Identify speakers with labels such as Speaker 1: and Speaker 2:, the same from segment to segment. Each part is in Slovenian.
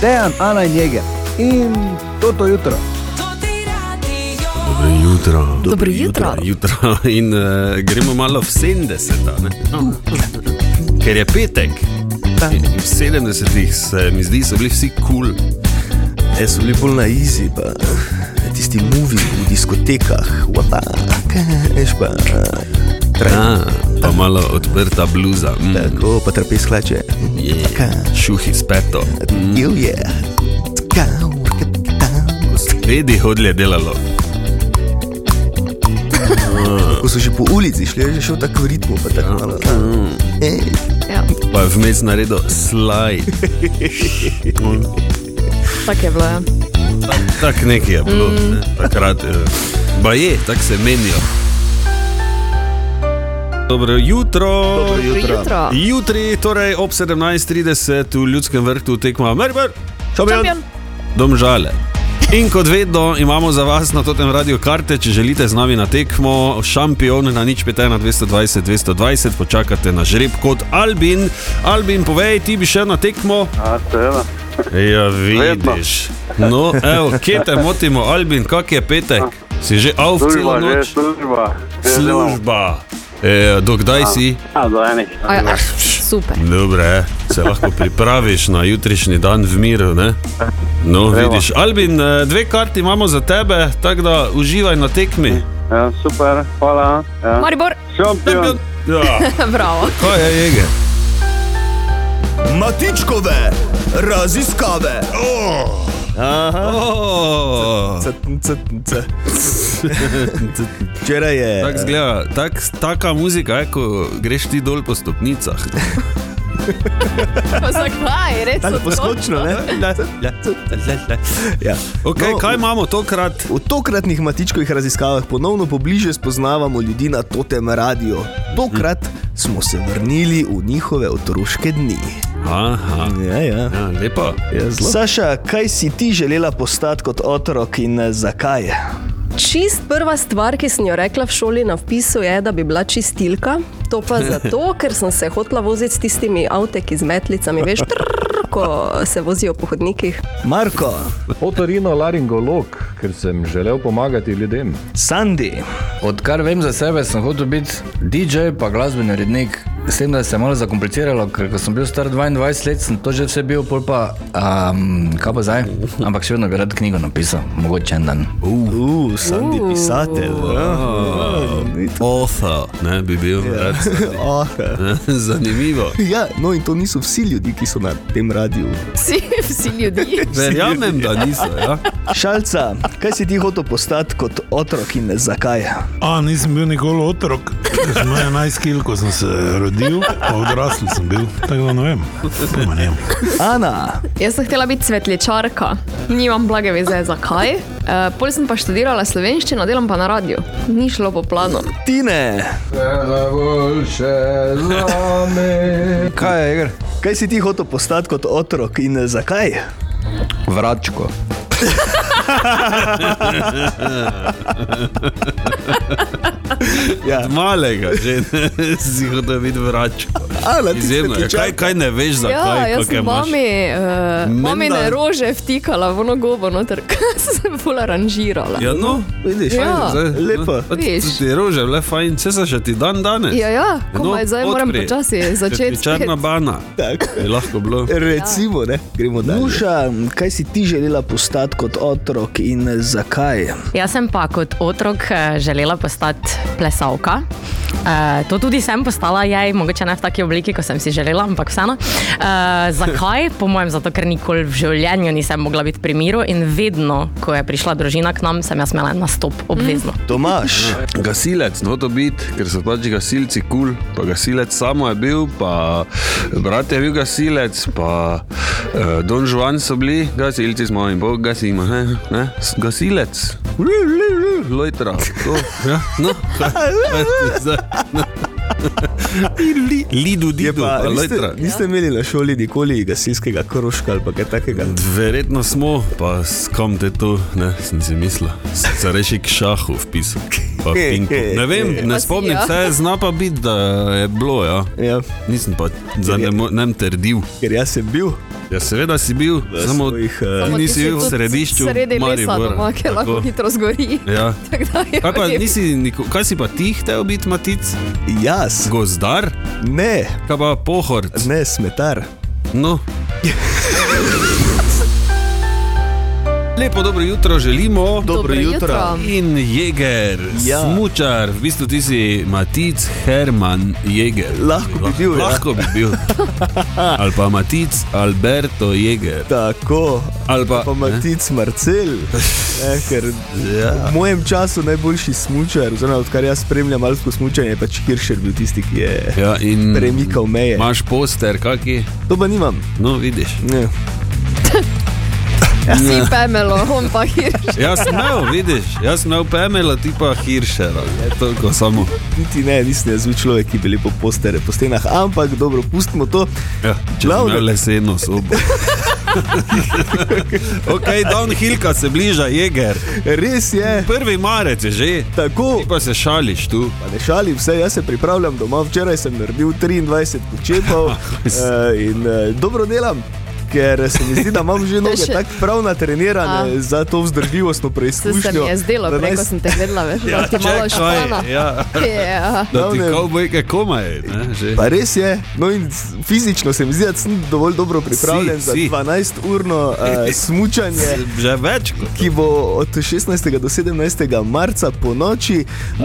Speaker 1: Dejan, Ana in Jeger in toto jutro.
Speaker 2: Dobro jutro.
Speaker 3: Dobro jutro.
Speaker 2: Dobro jutro. In uh, gremo malo v 70-ta, ne? No.
Speaker 3: Mm,
Speaker 2: ker je petek. In V 70-ih se mi zdi, so bili vsi kul. Cool.
Speaker 4: E, so bili bolj na izi, pa eh, tisti muvi v diskotekah, vapa, kajš pa. Traj,
Speaker 2: Ah, pa malo odprta bluza, mm,
Speaker 4: tako pa trapez hlače.
Speaker 2: yeah.
Speaker 4: Ka,
Speaker 2: šuhi s peto.
Speaker 4: Jo je. Ka, ka, ka.
Speaker 2: Vedi, hodlje delalo.
Speaker 4: Ko so že po ulici šli, je že šel tako v ritmu, pa tako malo. a. Ej,
Speaker 3: Ja,
Speaker 2: Mm. Pa je vmes naredil slaj.
Speaker 3: tako je bilo. ja.
Speaker 2: Tako nekaj je bilo,
Speaker 3: Mm.
Speaker 2: ne? takrat. eh, Ba je, tako se menijo. Dobro jutro. Dobro
Speaker 3: jutro. jutro.
Speaker 2: Jutri, torej ob 17:30 v Ljudskem vrtu tekma Merber,
Speaker 3: Šampion.
Speaker 2: domžale. In kot vedno imamo za vas na tem radiju karte, če želite z nami na tekmo, šampion na nič 5, na 220, 220, počakate na žreb kot Albin. Albin, povej, ti bi še na tekmo.
Speaker 5: A, seveda.
Speaker 2: Ja,
Speaker 5: Vedno.
Speaker 2: vidiš. No, evo, kje te motimo, Albin, kak je petek? Si že avf celo
Speaker 5: Služba, že
Speaker 2: noč?
Speaker 5: služba. Že delam.
Speaker 2: Služba. E, dokdaj si?
Speaker 5: A, do enih.
Speaker 3: A, ja, ah, super.
Speaker 2: Dobre, se lahko pripraviš na jutrišnji dan v miru, ne? No, vidiš. Albin, eh, dve karti imamo za tebe, tako da uživaj na tekmi.
Speaker 5: Ja, super, hvala. Ja.
Speaker 3: Maribor,
Speaker 5: Šampion.
Speaker 2: Ja,
Speaker 3: bravo.
Speaker 2: kaj je jege?
Speaker 4: Matičkove raziskave. Aha.
Speaker 2: Oh.
Speaker 4: C, c, c. Včeraj je.
Speaker 2: Tak zgleda, tak, taka muzika je, ko greš ti dol po stopnicah.
Speaker 3: Pa Zakaj, res?
Speaker 4: Tako poskočno,
Speaker 3: odločno.
Speaker 4: ne? Ja.
Speaker 2: Okay, kaj imamo tokrat?
Speaker 4: V tokratnih matičkovih raziskavah ponovno pobliže spoznavamo ljudi na totem radiju. Tokrat smo se vrnili v njihove otroške dni.
Speaker 2: Aha,
Speaker 4: Ja, ja.
Speaker 2: ja, lepa.
Speaker 4: Ja, Saša, kaj si ti želela postati kot otrok in eh, zakaj?
Speaker 6: Čist prva stvar, ki sem jo rekla v šoli na vpisu, je, da bi bila čistilka. To pa zato, ker sem se hotla voziti s tistimi avteki z metlicami, veš, trrr, ko se vozijo po hodnikih.
Speaker 4: Marko,
Speaker 7: Otorino laringolog, ker sem želel pomagati ljudem.
Speaker 4: Sandi,
Speaker 8: Odkar vem za sebe, sem hotel biti DJ, pa glasbeni rednik. S tem, da se je malo zakompliciralo, ker ko sem bil star 22 let, sem to že vse bil, pol pa, um, kaj pa zdaj? Ampak še vedno bi rad knjigo napisal, mogoče en dan.
Speaker 4: uh, Sandi pisatelj. ja.
Speaker 2: Ofa, Ja. ne bi bil. rad.
Speaker 4: Oh.
Speaker 2: Zanimivo.
Speaker 4: Ja, no in to niso vsi ljudje, ki so na tem radiju.
Speaker 3: Vsi, vsi ljudje.
Speaker 2: Verjamem, da niso. Ja?
Speaker 4: Šalca, kaj si ti hotel postati kot otrok in zakaj?
Speaker 9: A, nisem bil nikoli otrok, ker sem imel 11 kil, ko sem se rodil, pa odrasel sem bil, tako da ne vem. Pojma nimam.
Speaker 4: Ana,
Speaker 3: Jaz sem htela biti svetlečarka, nimam blage veze zakaj.
Speaker 6: Eh,
Speaker 3: Uh, Pol sem pa študirala slovenščino, delam pa na radiju. Ni šlo po planu.
Speaker 4: Tine,
Speaker 8: Kaj je, Igor?
Speaker 4: kaj si ti hotel postati kot otrok in zakaj?
Speaker 8: Vračko.
Speaker 4: Ja.
Speaker 2: Malega, že ne, si hotel videti vračko.
Speaker 4: Ana, ti
Speaker 2: Izjemno. Ja, kaj, kaj ne veš,
Speaker 3: Ja,
Speaker 2: zakaj?
Speaker 3: jaz
Speaker 2: kakaj
Speaker 3: sem
Speaker 2: imaš?
Speaker 3: mami, uh,
Speaker 2: Menda-
Speaker 3: mamine rože vtikala v ono gobo noter, kaj sem bolj aranžirala.
Speaker 2: Ja, no, vidiš, no.
Speaker 3: Ja.
Speaker 4: Lepo.
Speaker 3: Vidiš.
Speaker 2: Ti je rože, le fajn, vse se še ti dan danes.
Speaker 3: Ja, ja, komaj
Speaker 2: No,
Speaker 3: zdaj moram
Speaker 2: odpri.
Speaker 3: počasi začeti.
Speaker 2: Črna bana.
Speaker 4: Tako.
Speaker 2: Bi lahko bilo.
Speaker 4: Recimo, ne, gremo dalje. Nuša, kaj si ti želela postati kot otrok in zakaj?
Speaker 10: Jaz sem pa kot otrok eh, želela postati plesalka. Uh, to tudi sem postala, je mogoče ne v taki obliki, kot sem si želela, ampak vseeno. Uh, zakaj? Po mojem, zato ker nikoli v življenju nisem mogla biti pri miru in vedno, ko je prišla družina k nam, sem jaz imela nastop obvezno.
Speaker 4: Tomaš,
Speaker 2: Gasilec, no to biti, ker so pač gasilci kul, cool, pa gasilec samo je bil, pa brat je bil gasilec, pa eh, Don Juan so bili, gasilci smo in bog gasimo, ne, ne, S- gasilec, lojtra, to, ja, no, lidu,
Speaker 4: je
Speaker 2: didu,
Speaker 4: pa,
Speaker 2: pa
Speaker 4: niste,
Speaker 2: lojtra.
Speaker 4: niste imeli na šoli nikoli gasilskega krožka ali pa kaj takega.
Speaker 2: Mm. Verjetno smo, pa s kom te to, ne, sem si mislil, starejši k šahu vpisal. pa ping-pong. Ne vem, ne spomnim se, zna pa biti, da je bilo. Ja.
Speaker 4: Ja.
Speaker 2: Nisem pa za ne, mo- ne bom trdil.
Speaker 4: Ker jaz sem bil.
Speaker 2: Ja, seveda si bil,
Speaker 4: Da
Speaker 2: samo
Speaker 4: smo jih, eh,
Speaker 3: Samo ti
Speaker 2: nisi
Speaker 3: si
Speaker 2: bil v
Speaker 3: tudi
Speaker 2: središču.
Speaker 3: Sredi lesa,
Speaker 2: Maribora.
Speaker 3: doma, ki lahko
Speaker 2: Tako.
Speaker 3: hitro zgori.
Speaker 2: Ja.
Speaker 3: Tako da je
Speaker 2: Kaj, pa,
Speaker 3: v redu.
Speaker 2: nisi, niko- kaj si pa ti hotel biti, Matic?
Speaker 4: Jaz.
Speaker 2: Gozdar?
Speaker 4: Ne.
Speaker 2: Kaj pa pohor?
Speaker 4: Ne, smetar.
Speaker 2: No. Lepo dobro jutro želimo. Dobro,
Speaker 4: jutro. jutro.
Speaker 2: In Jeger,
Speaker 4: Ja.
Speaker 2: ja. smučar, v bistvu ti si Matic Herman Jeger.
Speaker 4: Lahko bi bil, ja.
Speaker 2: Lahko bi bil. Ali pa Matic Alberto Jeger.
Speaker 4: Tako.
Speaker 2: Ali pa,
Speaker 4: Pa Matic Marcel, ne, ker
Speaker 2: Ja.
Speaker 4: v mojem času najboljši smočar, oziroma odkar jaz spremljam alpsko smočanje, je pač Kiršer bil tisti, ki je
Speaker 2: Ja, in
Speaker 4: premikal meje.
Speaker 2: Imaš poster, kaki?
Speaker 4: To pa nimam.
Speaker 2: No, vidiš.
Speaker 4: Ne.
Speaker 3: Si pemelo, on pa hir.
Speaker 2: Jaz sem imel, vidiš, jaz sem imel Pamela, ti pa Hiršera, je toliko samo.
Speaker 4: Niti ne, nisem jaz bil človek, ki bi lepo postere po stenah, ampak dobro, pustimo to.
Speaker 2: Ja, če bi
Speaker 4: Glavno-
Speaker 2: imel leseno sobo. ok, downhillka se bliža, jeger.
Speaker 4: Res
Speaker 3: Eh.
Speaker 4: je.
Speaker 2: Prvi marec je že.
Speaker 4: Tako.
Speaker 2: Ti pa se šališ tu.
Speaker 4: Pa ne šalim se, jaz se pripravljam doma. Včeraj sem naredil 23 počepov eh, in eh, dobro delam. Ker se mi zdi, da imam že noge
Speaker 3: Ja, še-
Speaker 4: tako prav natrenirane
Speaker 3: A.
Speaker 4: za to vzdržljivostno
Speaker 3: Se, se mi
Speaker 4: preizkušnjo.
Speaker 3: je zdelo,
Speaker 4: da naj
Speaker 3: preko
Speaker 4: s-
Speaker 3: sem te gledala, veš,
Speaker 2: Ja,
Speaker 3: da ti malo
Speaker 2: čakaj,
Speaker 3: špana.
Speaker 2: ja.
Speaker 3: Ja.
Speaker 2: Da ti
Speaker 4: Glavnem-
Speaker 2: kavbojke komaj, ne, že.
Speaker 4: Pa res je, no in s- fizično se mi zdi, da sem dovolj dobro pripravljen
Speaker 2: Si,
Speaker 4: za
Speaker 2: si.
Speaker 4: 12-urno uh, smučanje.
Speaker 2: Že več kot.
Speaker 4: ki bo od 16. do 17. marca po noči, uh,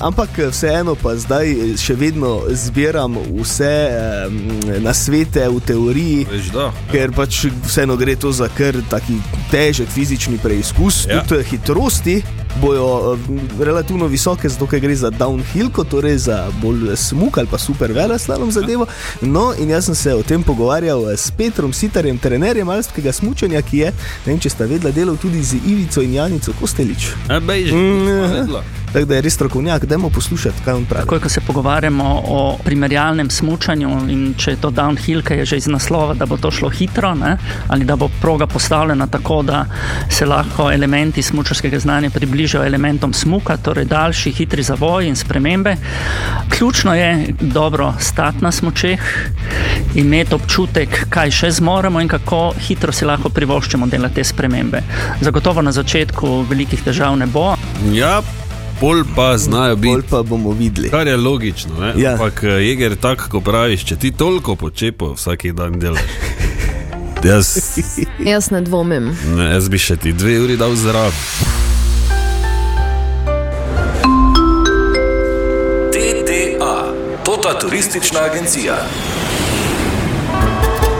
Speaker 4: ampak vseeno pa zdaj še vedno zbiram vse um, nasvete v teoriji.
Speaker 2: Veš, da.
Speaker 4: Ker pač vseeno gre to za kar taki težek fizični preizkus,
Speaker 2: Ja.
Speaker 4: ja. tudi hitrosti bojo eh, relativno visoke, zato ker gre za downhill, torej za bolj smuk ali pa super veleslalom zadevo. No, in jaz sem se o tem pogovarjal eh, s Petrom Sitarjem, trenerjem alpskega smučanja, ki je, ne vem, če sta vedela, delal tudi z Ivico in Janico Kostelič.
Speaker 2: Ja, bej, že.
Speaker 4: Mm.
Speaker 2: vedela.
Speaker 4: Tako da je res strokovnjak, dajmo poslušati, kaj on pravi.
Speaker 11: Takoj, ko se pogovarjamo o primerjalnem smučanju in če je to downhill, ki je že iz naslova, da bo to šlo hitro, ne? ali da bo proga postavljena tako, da se lahko elementi smučarskega znanja približajo elementom smuka, torej daljši, hitri zavoji in spremembe. Ključno je dobro stati na smočeh, imeti občutek, kaj še zmoremo in kako hitro si lahko privoščimo delati te spremembe. Zagotovo na začetku velikih težav ne bo,
Speaker 2: Ja, pol pa znajo biti. Pol
Speaker 4: pa bomo videli.
Speaker 2: Kar je logično, ne?
Speaker 4: Ja.
Speaker 2: Ampak eh, jeger tako, ko praviš, če ti toliko počepov vsak dan delaš. Jaz,
Speaker 3: Jaz ne dvomim.
Speaker 2: ne, jaz bi še ti dve uri dal zraven.
Speaker 12: TTA, Tota turistična agencija.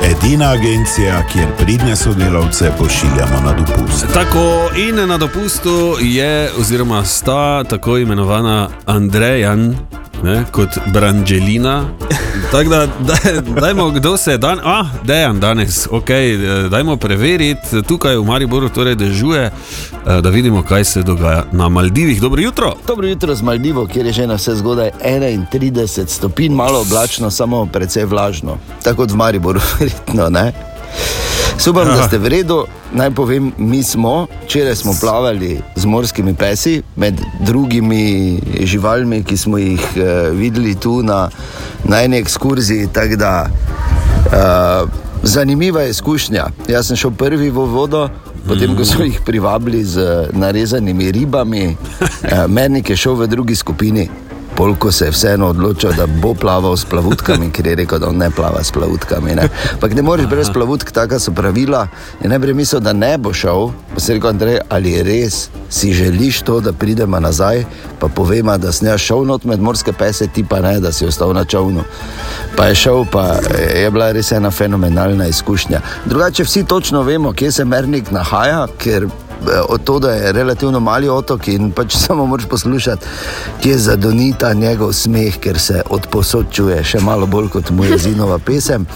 Speaker 13: Edina agencija, kjer pridne sodelavce pošiljamo na dopust.
Speaker 2: Tako in na dopustu je, oziroma sta tako imenovana Andrejan. Ne, kot Brangelina. Tako da, daj, dajmo, kdo se je dan, a, dejan danes, ok, eh, dajmo preveriti, tukaj v Mariboru torej dežuje, eh, da vidimo, kaj se dogaja na Maldivih. Dobro jutro.
Speaker 14: Dobro jutro z Maldivo, kjer je že na vse zgodaj 31 stopinj, malo oblačno, samo precej vlažno. Tako kot v Mariboru, verjetno. Ne? Subam, da ste v redu. Naj povem, mi smo, včeraj smo plavali z morskimi pesi, med drugimi živalmi, ki smo jih eh, videli tu na, na eni ekskurziji. tako Da, eh, zanimiva je izkušnja. Jaz sem šel prvi v vodo, potem ko so jih privabili z eh, narezanimi ribami, eh, Mernik je šel v drugi skupini. Polko se je vseeno odločil, da bo plaval s plavutkami, ker je rekel, da on ne plava s plavutkami. Ne, Ampak ne moreš brez plavutk, taka so pravila. In najprej mislil, da ne bo šel, pa si rekel, Andrej, ali res si želiš to, da pridemo nazaj, pa povema, da sem jaz šel not med morske pese, ti pa ne, da si ostal na čovnu. Pa je šel, pa je bila res ena fenomenalna izkušnja. Drugače vsi točno vemo, kje se mernik nahaja, ker eh, od to, da je relativno mali otok in pač samo moraš poslušati, kje zadoni ta njegov smeh, ker se odposočuje še malo bolj kot Mojezinova pesem.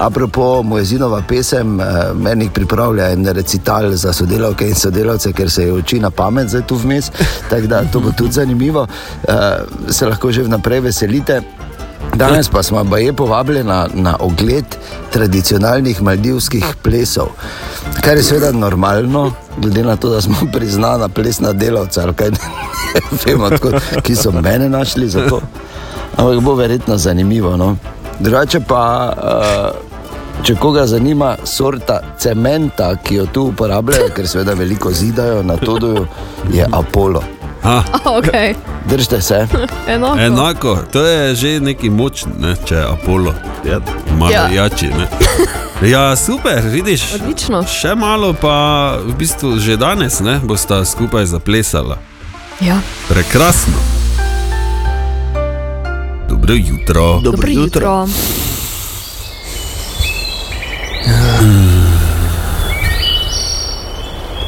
Speaker 14: Apropo, Mojezinova pesem, eh, meni pripravlja en recital za sodelavke in sodelavce, ker se je uči na pamet zdaj tu vmes, tako da to bo tudi zanimivo, Eh, se lahko že vnaprej veselite. Danes pa smo baje povabljeni na, na ogled tradicionalnih maldivskih plesov, kar je seveda normalno, glede na to, da smo priznana plesna delavca, ali kaj ne vem, odkud, ki so mene našli za to. Ampak bo verjetno zanimivo. No? Drugače pa. Uh, Če koga zanima sorta cementa, ki jo tu uporabljajo, ker seveda veliko zidajo na Todu, je Apollo.
Speaker 2: Ah.
Speaker 3: Okay.
Speaker 14: Držite se.
Speaker 3: Enako.
Speaker 2: Enako, to je že neki močen, ne, če je Apollo. Malo
Speaker 3: Ja.
Speaker 2: ja. jači. Ne. Ja, super, vidiš.
Speaker 3: Odlično.
Speaker 2: Še malo, pa v bistvu že danes ne, bosta skupaj zaplesala.
Speaker 3: Ja.
Speaker 2: Prekrasno. Dobro jutro.
Speaker 3: Dobro jutro.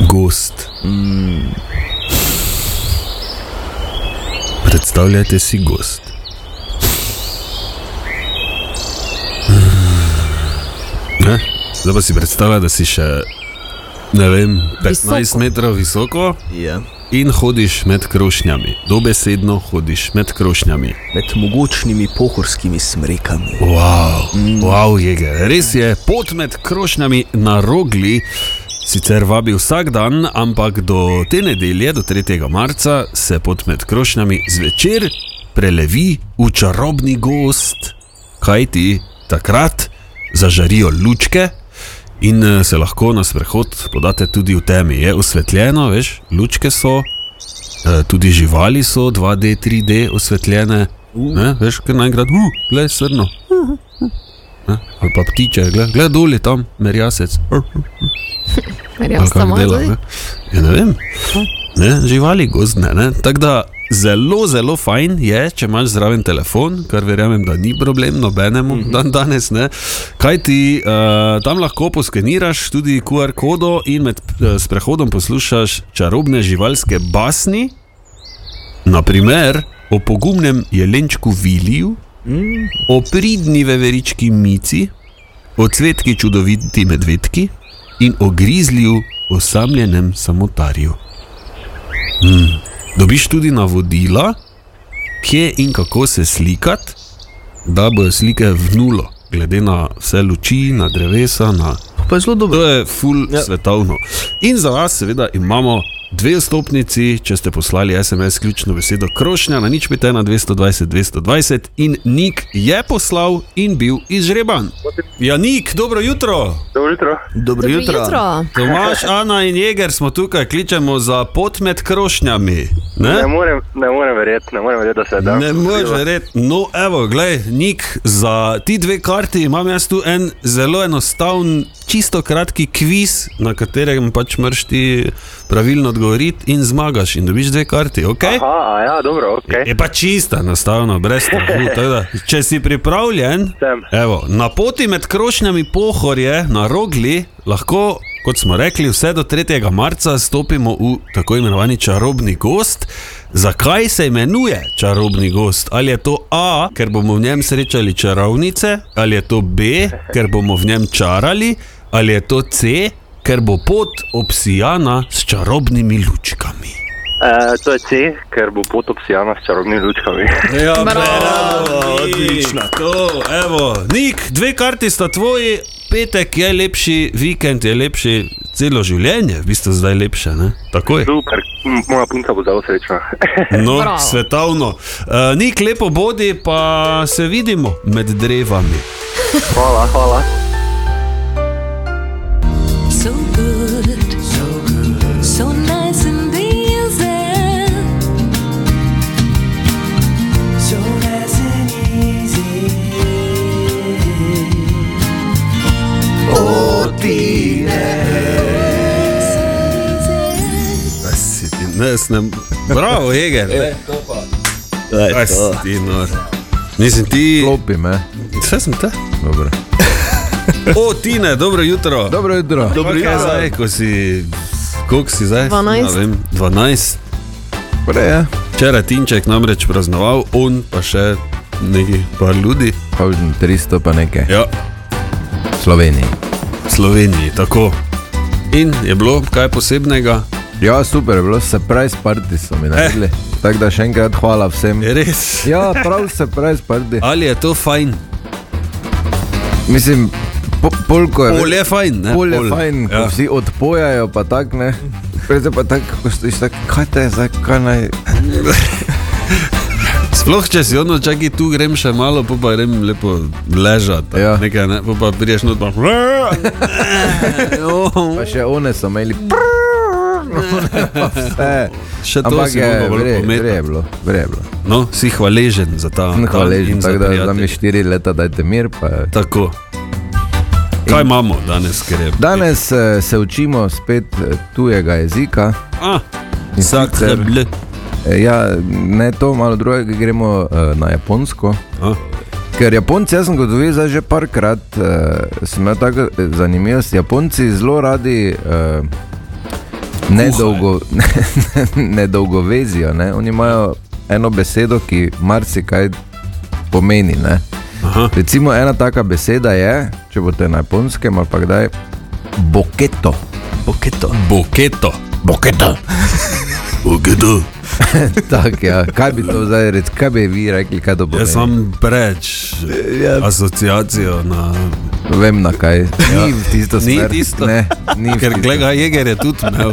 Speaker 2: Gost. Mm. Predstavljajte si gost. Mm. Hmm. Ne? Zdaj pa si predstavljaj, da si še ne vem, 15
Speaker 15: Visoko.
Speaker 2: visoko. metrov visoko
Speaker 4: yeah.
Speaker 2: in hodiš med krošnjami. Dobesedno hodiš med krošnjami.
Speaker 4: Med mogočnimi pohorskimi smrekami.
Speaker 2: Wow, mm. wow je ga. Res je, pot med krošnjami na rogli. Sicer vabi vsak dan, ampak do te nedelje, do 3. marca, se pot med krošnjami zvečer prelevi v čarobni gost. Kaj ti takrat zažarijo lučke in eh, se lahko na sprehod podate tudi v temi. Je osvetljeno, veš, lučke so, eh, tudi živali so 2D, 3D osvetljene. Ne, veš, kaj naenkrat, uh, gled srno. Ne? Ali pa ptiče, gled, gled dol je tam, merjasec.
Speaker 3: Verjamem,
Speaker 2: Ali kako
Speaker 3: samo
Speaker 2: dela,
Speaker 3: zdaj.
Speaker 2: ne? Ja, ne vem. Ne, živali gozdne. Ne? Tako da zelo, zelo fajn je, če imaš zraven telefon, kar verjamem, da ni problem nobenemu mm -hmm. dan danes. Ne? Kaj ti uh, tam lahko poskeniraš tudi QR kodo in med uh, prehodom poslušaš čarobne živalske basni, naprimer o pogumnem jelenčku Viliju,
Speaker 4: Mm.
Speaker 2: o pridni veverički Mici, o cvetki čudoviti medvedki in o grizliju, osamljenem samotarju. Mm. Dobiš tudi navodila, kje in kako se slikati, da bojo slike v nulo, glede na vse luči, na drevesa. Na...
Speaker 4: Pa je zelo dobro.
Speaker 2: To je full ja. svetovno. In za vas, seveda, imamo. Dve stopnici, če ste poslali SMS, ključno besedo krošnja na nič pete na 220, 220 in Nik je poslal in bil izžreban. Ja, Nik, dobro jutro.
Speaker 5: Dobro jutro.
Speaker 4: Dobro
Speaker 2: Tomaš, Ana in Jeger smo tukaj, kličemo za pot med krošnjami. Ne?
Speaker 16: Ne morem, ne morem verjeti, ne morem verjeti, da se je da.
Speaker 2: Ne moreš verjeti. No, evo, glej, Nik, za ti dve karti imam jaz tu en zelo enostaven, čisto kratki kviz, na katerem pač moraš ti pravilno odgovoriti in zmagaš in dobiš dve karti, ok?
Speaker 16: Aha, ja, dobro, ok.
Speaker 2: Je pa čista, enostavno, brez strahu. tako da, Če si pripravljen, evo, na poti med krošnjami pohorje na rogli lahko, kot smo rekli, vse do 3. marca stopimo v tako imenovani čarobni gost. Zakaj se imenuje čarobni gost? Ali je to A, ker bomo v njem srečali čarovnice, ali je to B, ker bomo v njem čarali, ali je to C, ker bo pot obsijana s čarobnimi lučkami.
Speaker 16: E, to je C, ker bo pot obsijana s čarobnimi lučkami.
Speaker 2: Ja, bravo, odlično. To, evo, Nik, dve karti sta tvoji, petek je lepši, vikend je lepši, celo življenje je v bistvu zdaj lepše. Ne? Tako je.
Speaker 16: Super, m, moja punca bo zelo srečna.
Speaker 2: No,
Speaker 16: Bravo.
Speaker 2: svetovno. Uh, Nik, lepo bodi, pa se vidimo med drevami.
Speaker 16: Hvala, hvala.
Speaker 17: So good, so good, so nice and easy. So nice and easy.
Speaker 2: Aj, si ti, Ne, jaz ne, bravo, Eger.
Speaker 4: E,
Speaker 2: Aj, si ti nor. Mislim ti.
Speaker 15: no. Klopi me.
Speaker 2: Vse sem te. Dobro. O, Tine, dobro jutro.
Speaker 15: Dobro jutro.
Speaker 2: Dobro jutro. Zdaj, ko si, koliko si zdaj?
Speaker 3: 12.
Speaker 2: Ne vem, 12.
Speaker 15: ja.
Speaker 2: Prej. Včeraj Tinček namreč praznoval, on pa še nekaj par ljudi.
Speaker 15: Pa 300 pa nekaj.
Speaker 2: Ja.
Speaker 15: Sloveniji.
Speaker 2: Sloveniji, tako. In je bilo kaj posebnega? Eh,
Speaker 15: Ja, super, je bilo surprise party so mi naredili. Tako da še enkrat hvala vsem.
Speaker 2: Res.
Speaker 15: Ja, prav se prej sprdi.
Speaker 2: Ali je to fajn?
Speaker 15: Mislim, po, polko je.
Speaker 2: Pol je fajn, ne?
Speaker 15: Pol je
Speaker 2: Pol,
Speaker 15: fajn, ko
Speaker 2: ja.
Speaker 15: vsi odpojajo, pa tak ne. Preze pa tako, ko stojiš tako, kaj te je zdaj, kaj naj.
Speaker 2: Sploh če si ono, čakaj, tu grem še malo, pol pa grem lepo ležati. Ja. Nekaj, ne? pol pa priješ not, pa.
Speaker 15: Pa še one so imeli. Pa vse.
Speaker 2: Še to
Speaker 15: Ampak
Speaker 2: si
Speaker 15: je
Speaker 2: mogel bolj
Speaker 15: vre-
Speaker 2: pometati.
Speaker 15: vre je bilo, vre je bilo.
Speaker 2: No, si hvaležen za ta
Speaker 15: Sem
Speaker 2: dan in
Speaker 15: Hvaležen,
Speaker 2: za
Speaker 15: tako da za
Speaker 2: prijatelje.
Speaker 15: mi štiri leta dajte mir. Pa...
Speaker 2: Tako. Kaj imamo danes, ker je
Speaker 15: Danes eh, se učimo spet eh, tujega jezika.
Speaker 2: Ah,
Speaker 15: In sicer- Eh, Ja, ne to, malo drugega, gremo eh, na Japonsko.
Speaker 2: Ah.
Speaker 15: Ker Japonci, jaz sem kot vi, zdaj že parkrat, eh, sem imel tako eh, zanimivost. Japonci zelo radi eh, nedolgo, ne, nedolgo vezijo. Ne? Oni imajo eno besedo, ki marsikaj pomeni. ne. Recimo ena taka beseda je, če boste na japonskem ali pa kdaj, boketo.
Speaker 4: Boketo.
Speaker 2: Boketo.
Speaker 15: Boketo.
Speaker 2: Boketo.
Speaker 15: tak, ja. Kaj bi to zdaj rekel, kaj bi vi rekli, kaj to bo?
Speaker 2: Jaz sem preč ja. asociacijo na.
Speaker 15: Vem na kaj.
Speaker 2: Ja.
Speaker 15: Ni v tisto
Speaker 2: Ni
Speaker 15: smer.
Speaker 2: tisto.
Speaker 15: Ne, ni v
Speaker 2: Ker
Speaker 15: tisto.
Speaker 2: glega jeger je tudi imel.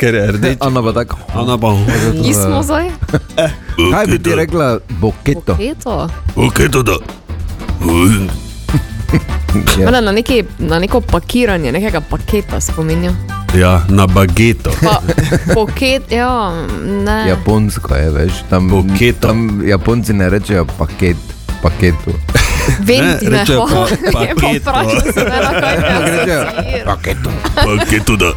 Speaker 2: Ker je rdeč.
Speaker 15: Ona pa tako.
Speaker 2: Ona pa.
Speaker 15: Eh,
Speaker 3: Nismo zdaj?
Speaker 15: Kaj bi ti rekla, boketo?
Speaker 3: Eto.
Speaker 2: Boketo da.
Speaker 15: Ja.
Speaker 3: Mene na, neki, na neko pakiranje, nekega paketa spominja.
Speaker 2: Ja, na bageto.
Speaker 3: Pa, poket, ja, ne.
Speaker 15: Japonsko je, veš, tam, tam Japonci ne rečejo paket, paketu.
Speaker 3: Vem, ti ne,
Speaker 15: rečejo
Speaker 3: hvala.
Speaker 15: pa-
Speaker 3: Je pa
Speaker 15: paketo.
Speaker 3: vprašal sem, ne, na
Speaker 15: Ja,
Speaker 3: kaj te
Speaker 15: Rečejo
Speaker 3: asociira.
Speaker 15: paketu.
Speaker 2: Paketu da.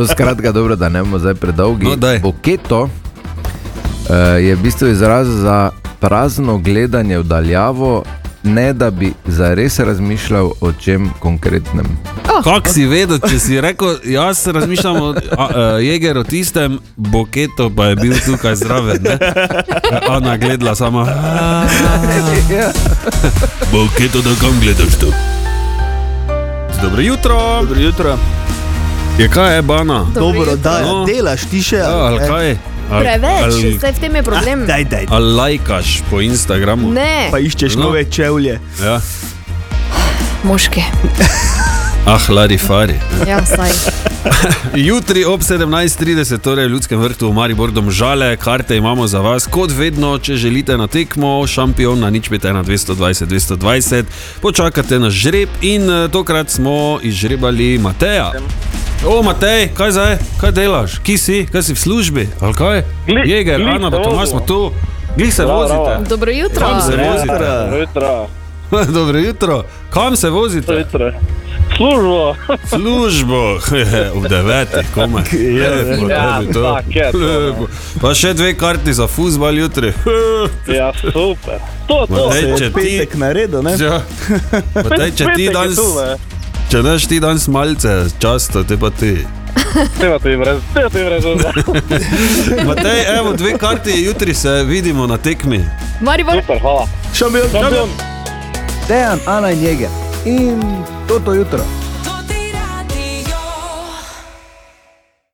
Speaker 15: No, skratka, dobro, da ne bomo zdaj predolgi.
Speaker 2: No, daj.
Speaker 15: Boketo eh, je v bistvu izraz za prazno gledanje v daljavo, ne da bi zares razmišljal o čem konkretnem.
Speaker 2: Oh. Kako si vedel, če si rekel, jaz razmišljam o a, a, jegeru o tistem, boketo pa je bil tukaj zraven. Ne? Ana gledala sama. Boketo, da kam gledaš to? Dobro jutro. Dobro jutro. Je kaj je bana?
Speaker 4: Dobro, E, Dobro da no. delaš ti še.
Speaker 2: Ja, ali kaj? Ali-
Speaker 3: Preveč,
Speaker 2: ali-
Speaker 3: zdaj v tem je problem.
Speaker 4: Daj, daj.
Speaker 2: Ali lajkaš po Instagramu?
Speaker 3: Ne. Pa
Speaker 4: iščeš
Speaker 2: nove
Speaker 4: čevlje.
Speaker 2: Ja.
Speaker 3: Moški,
Speaker 2: Ah, larifari.
Speaker 3: ja, saj.
Speaker 2: Jutri ob 17:30, torej v Ljudskem vrtu v Mariboru, domžale, karte imamo za vas, kot vedno, če želite na tekmo, šampion na nič 5, 1, 220, 220, počakate na žreb in eh, tokrat smo izžrebali Mateja. O, Matej, kaj zdaj, kaj delaš, ki si, kaj si v službi, ali kaj?
Speaker 5: Glih-
Speaker 2: Jeger,
Speaker 5: glih
Speaker 2: Ana, pa
Speaker 5: se
Speaker 2: Tomas smo
Speaker 5: vozimo.
Speaker 2: tu, glih se
Speaker 5: Bravo,
Speaker 2: vozite.
Speaker 5: bravo.
Speaker 3: Dobro jutro.
Speaker 2: Kam se vozite?
Speaker 5: Jutro.
Speaker 2: Dobro jutro, kam se vozite?
Speaker 5: Jutro. Službo.
Speaker 2: Službo, v devetih, komaj. Lepo,
Speaker 5: Ja,
Speaker 2: tebi to.
Speaker 5: tako je to, no.
Speaker 2: Lepo. Pa še dve karti za fuzbal jutri.
Speaker 5: Ja, super. To, to.
Speaker 2: Matej, E, če ti-
Speaker 4: Petek naredil, ne?
Speaker 2: Ja. Matej, če ti
Speaker 5: Petek je
Speaker 2: danes,
Speaker 5: tu, ne.
Speaker 2: če daš ti danes malce časta, te pa ti.
Speaker 5: Teba ti brez, teba ti brez.
Speaker 2: Matej, evo dve karti, jutri se vidimo na tekmi.
Speaker 3: Maribor.
Speaker 5: Super, hvala.
Speaker 4: Šampion,
Speaker 1: Dejan, Ana in Jeger in toto jutro.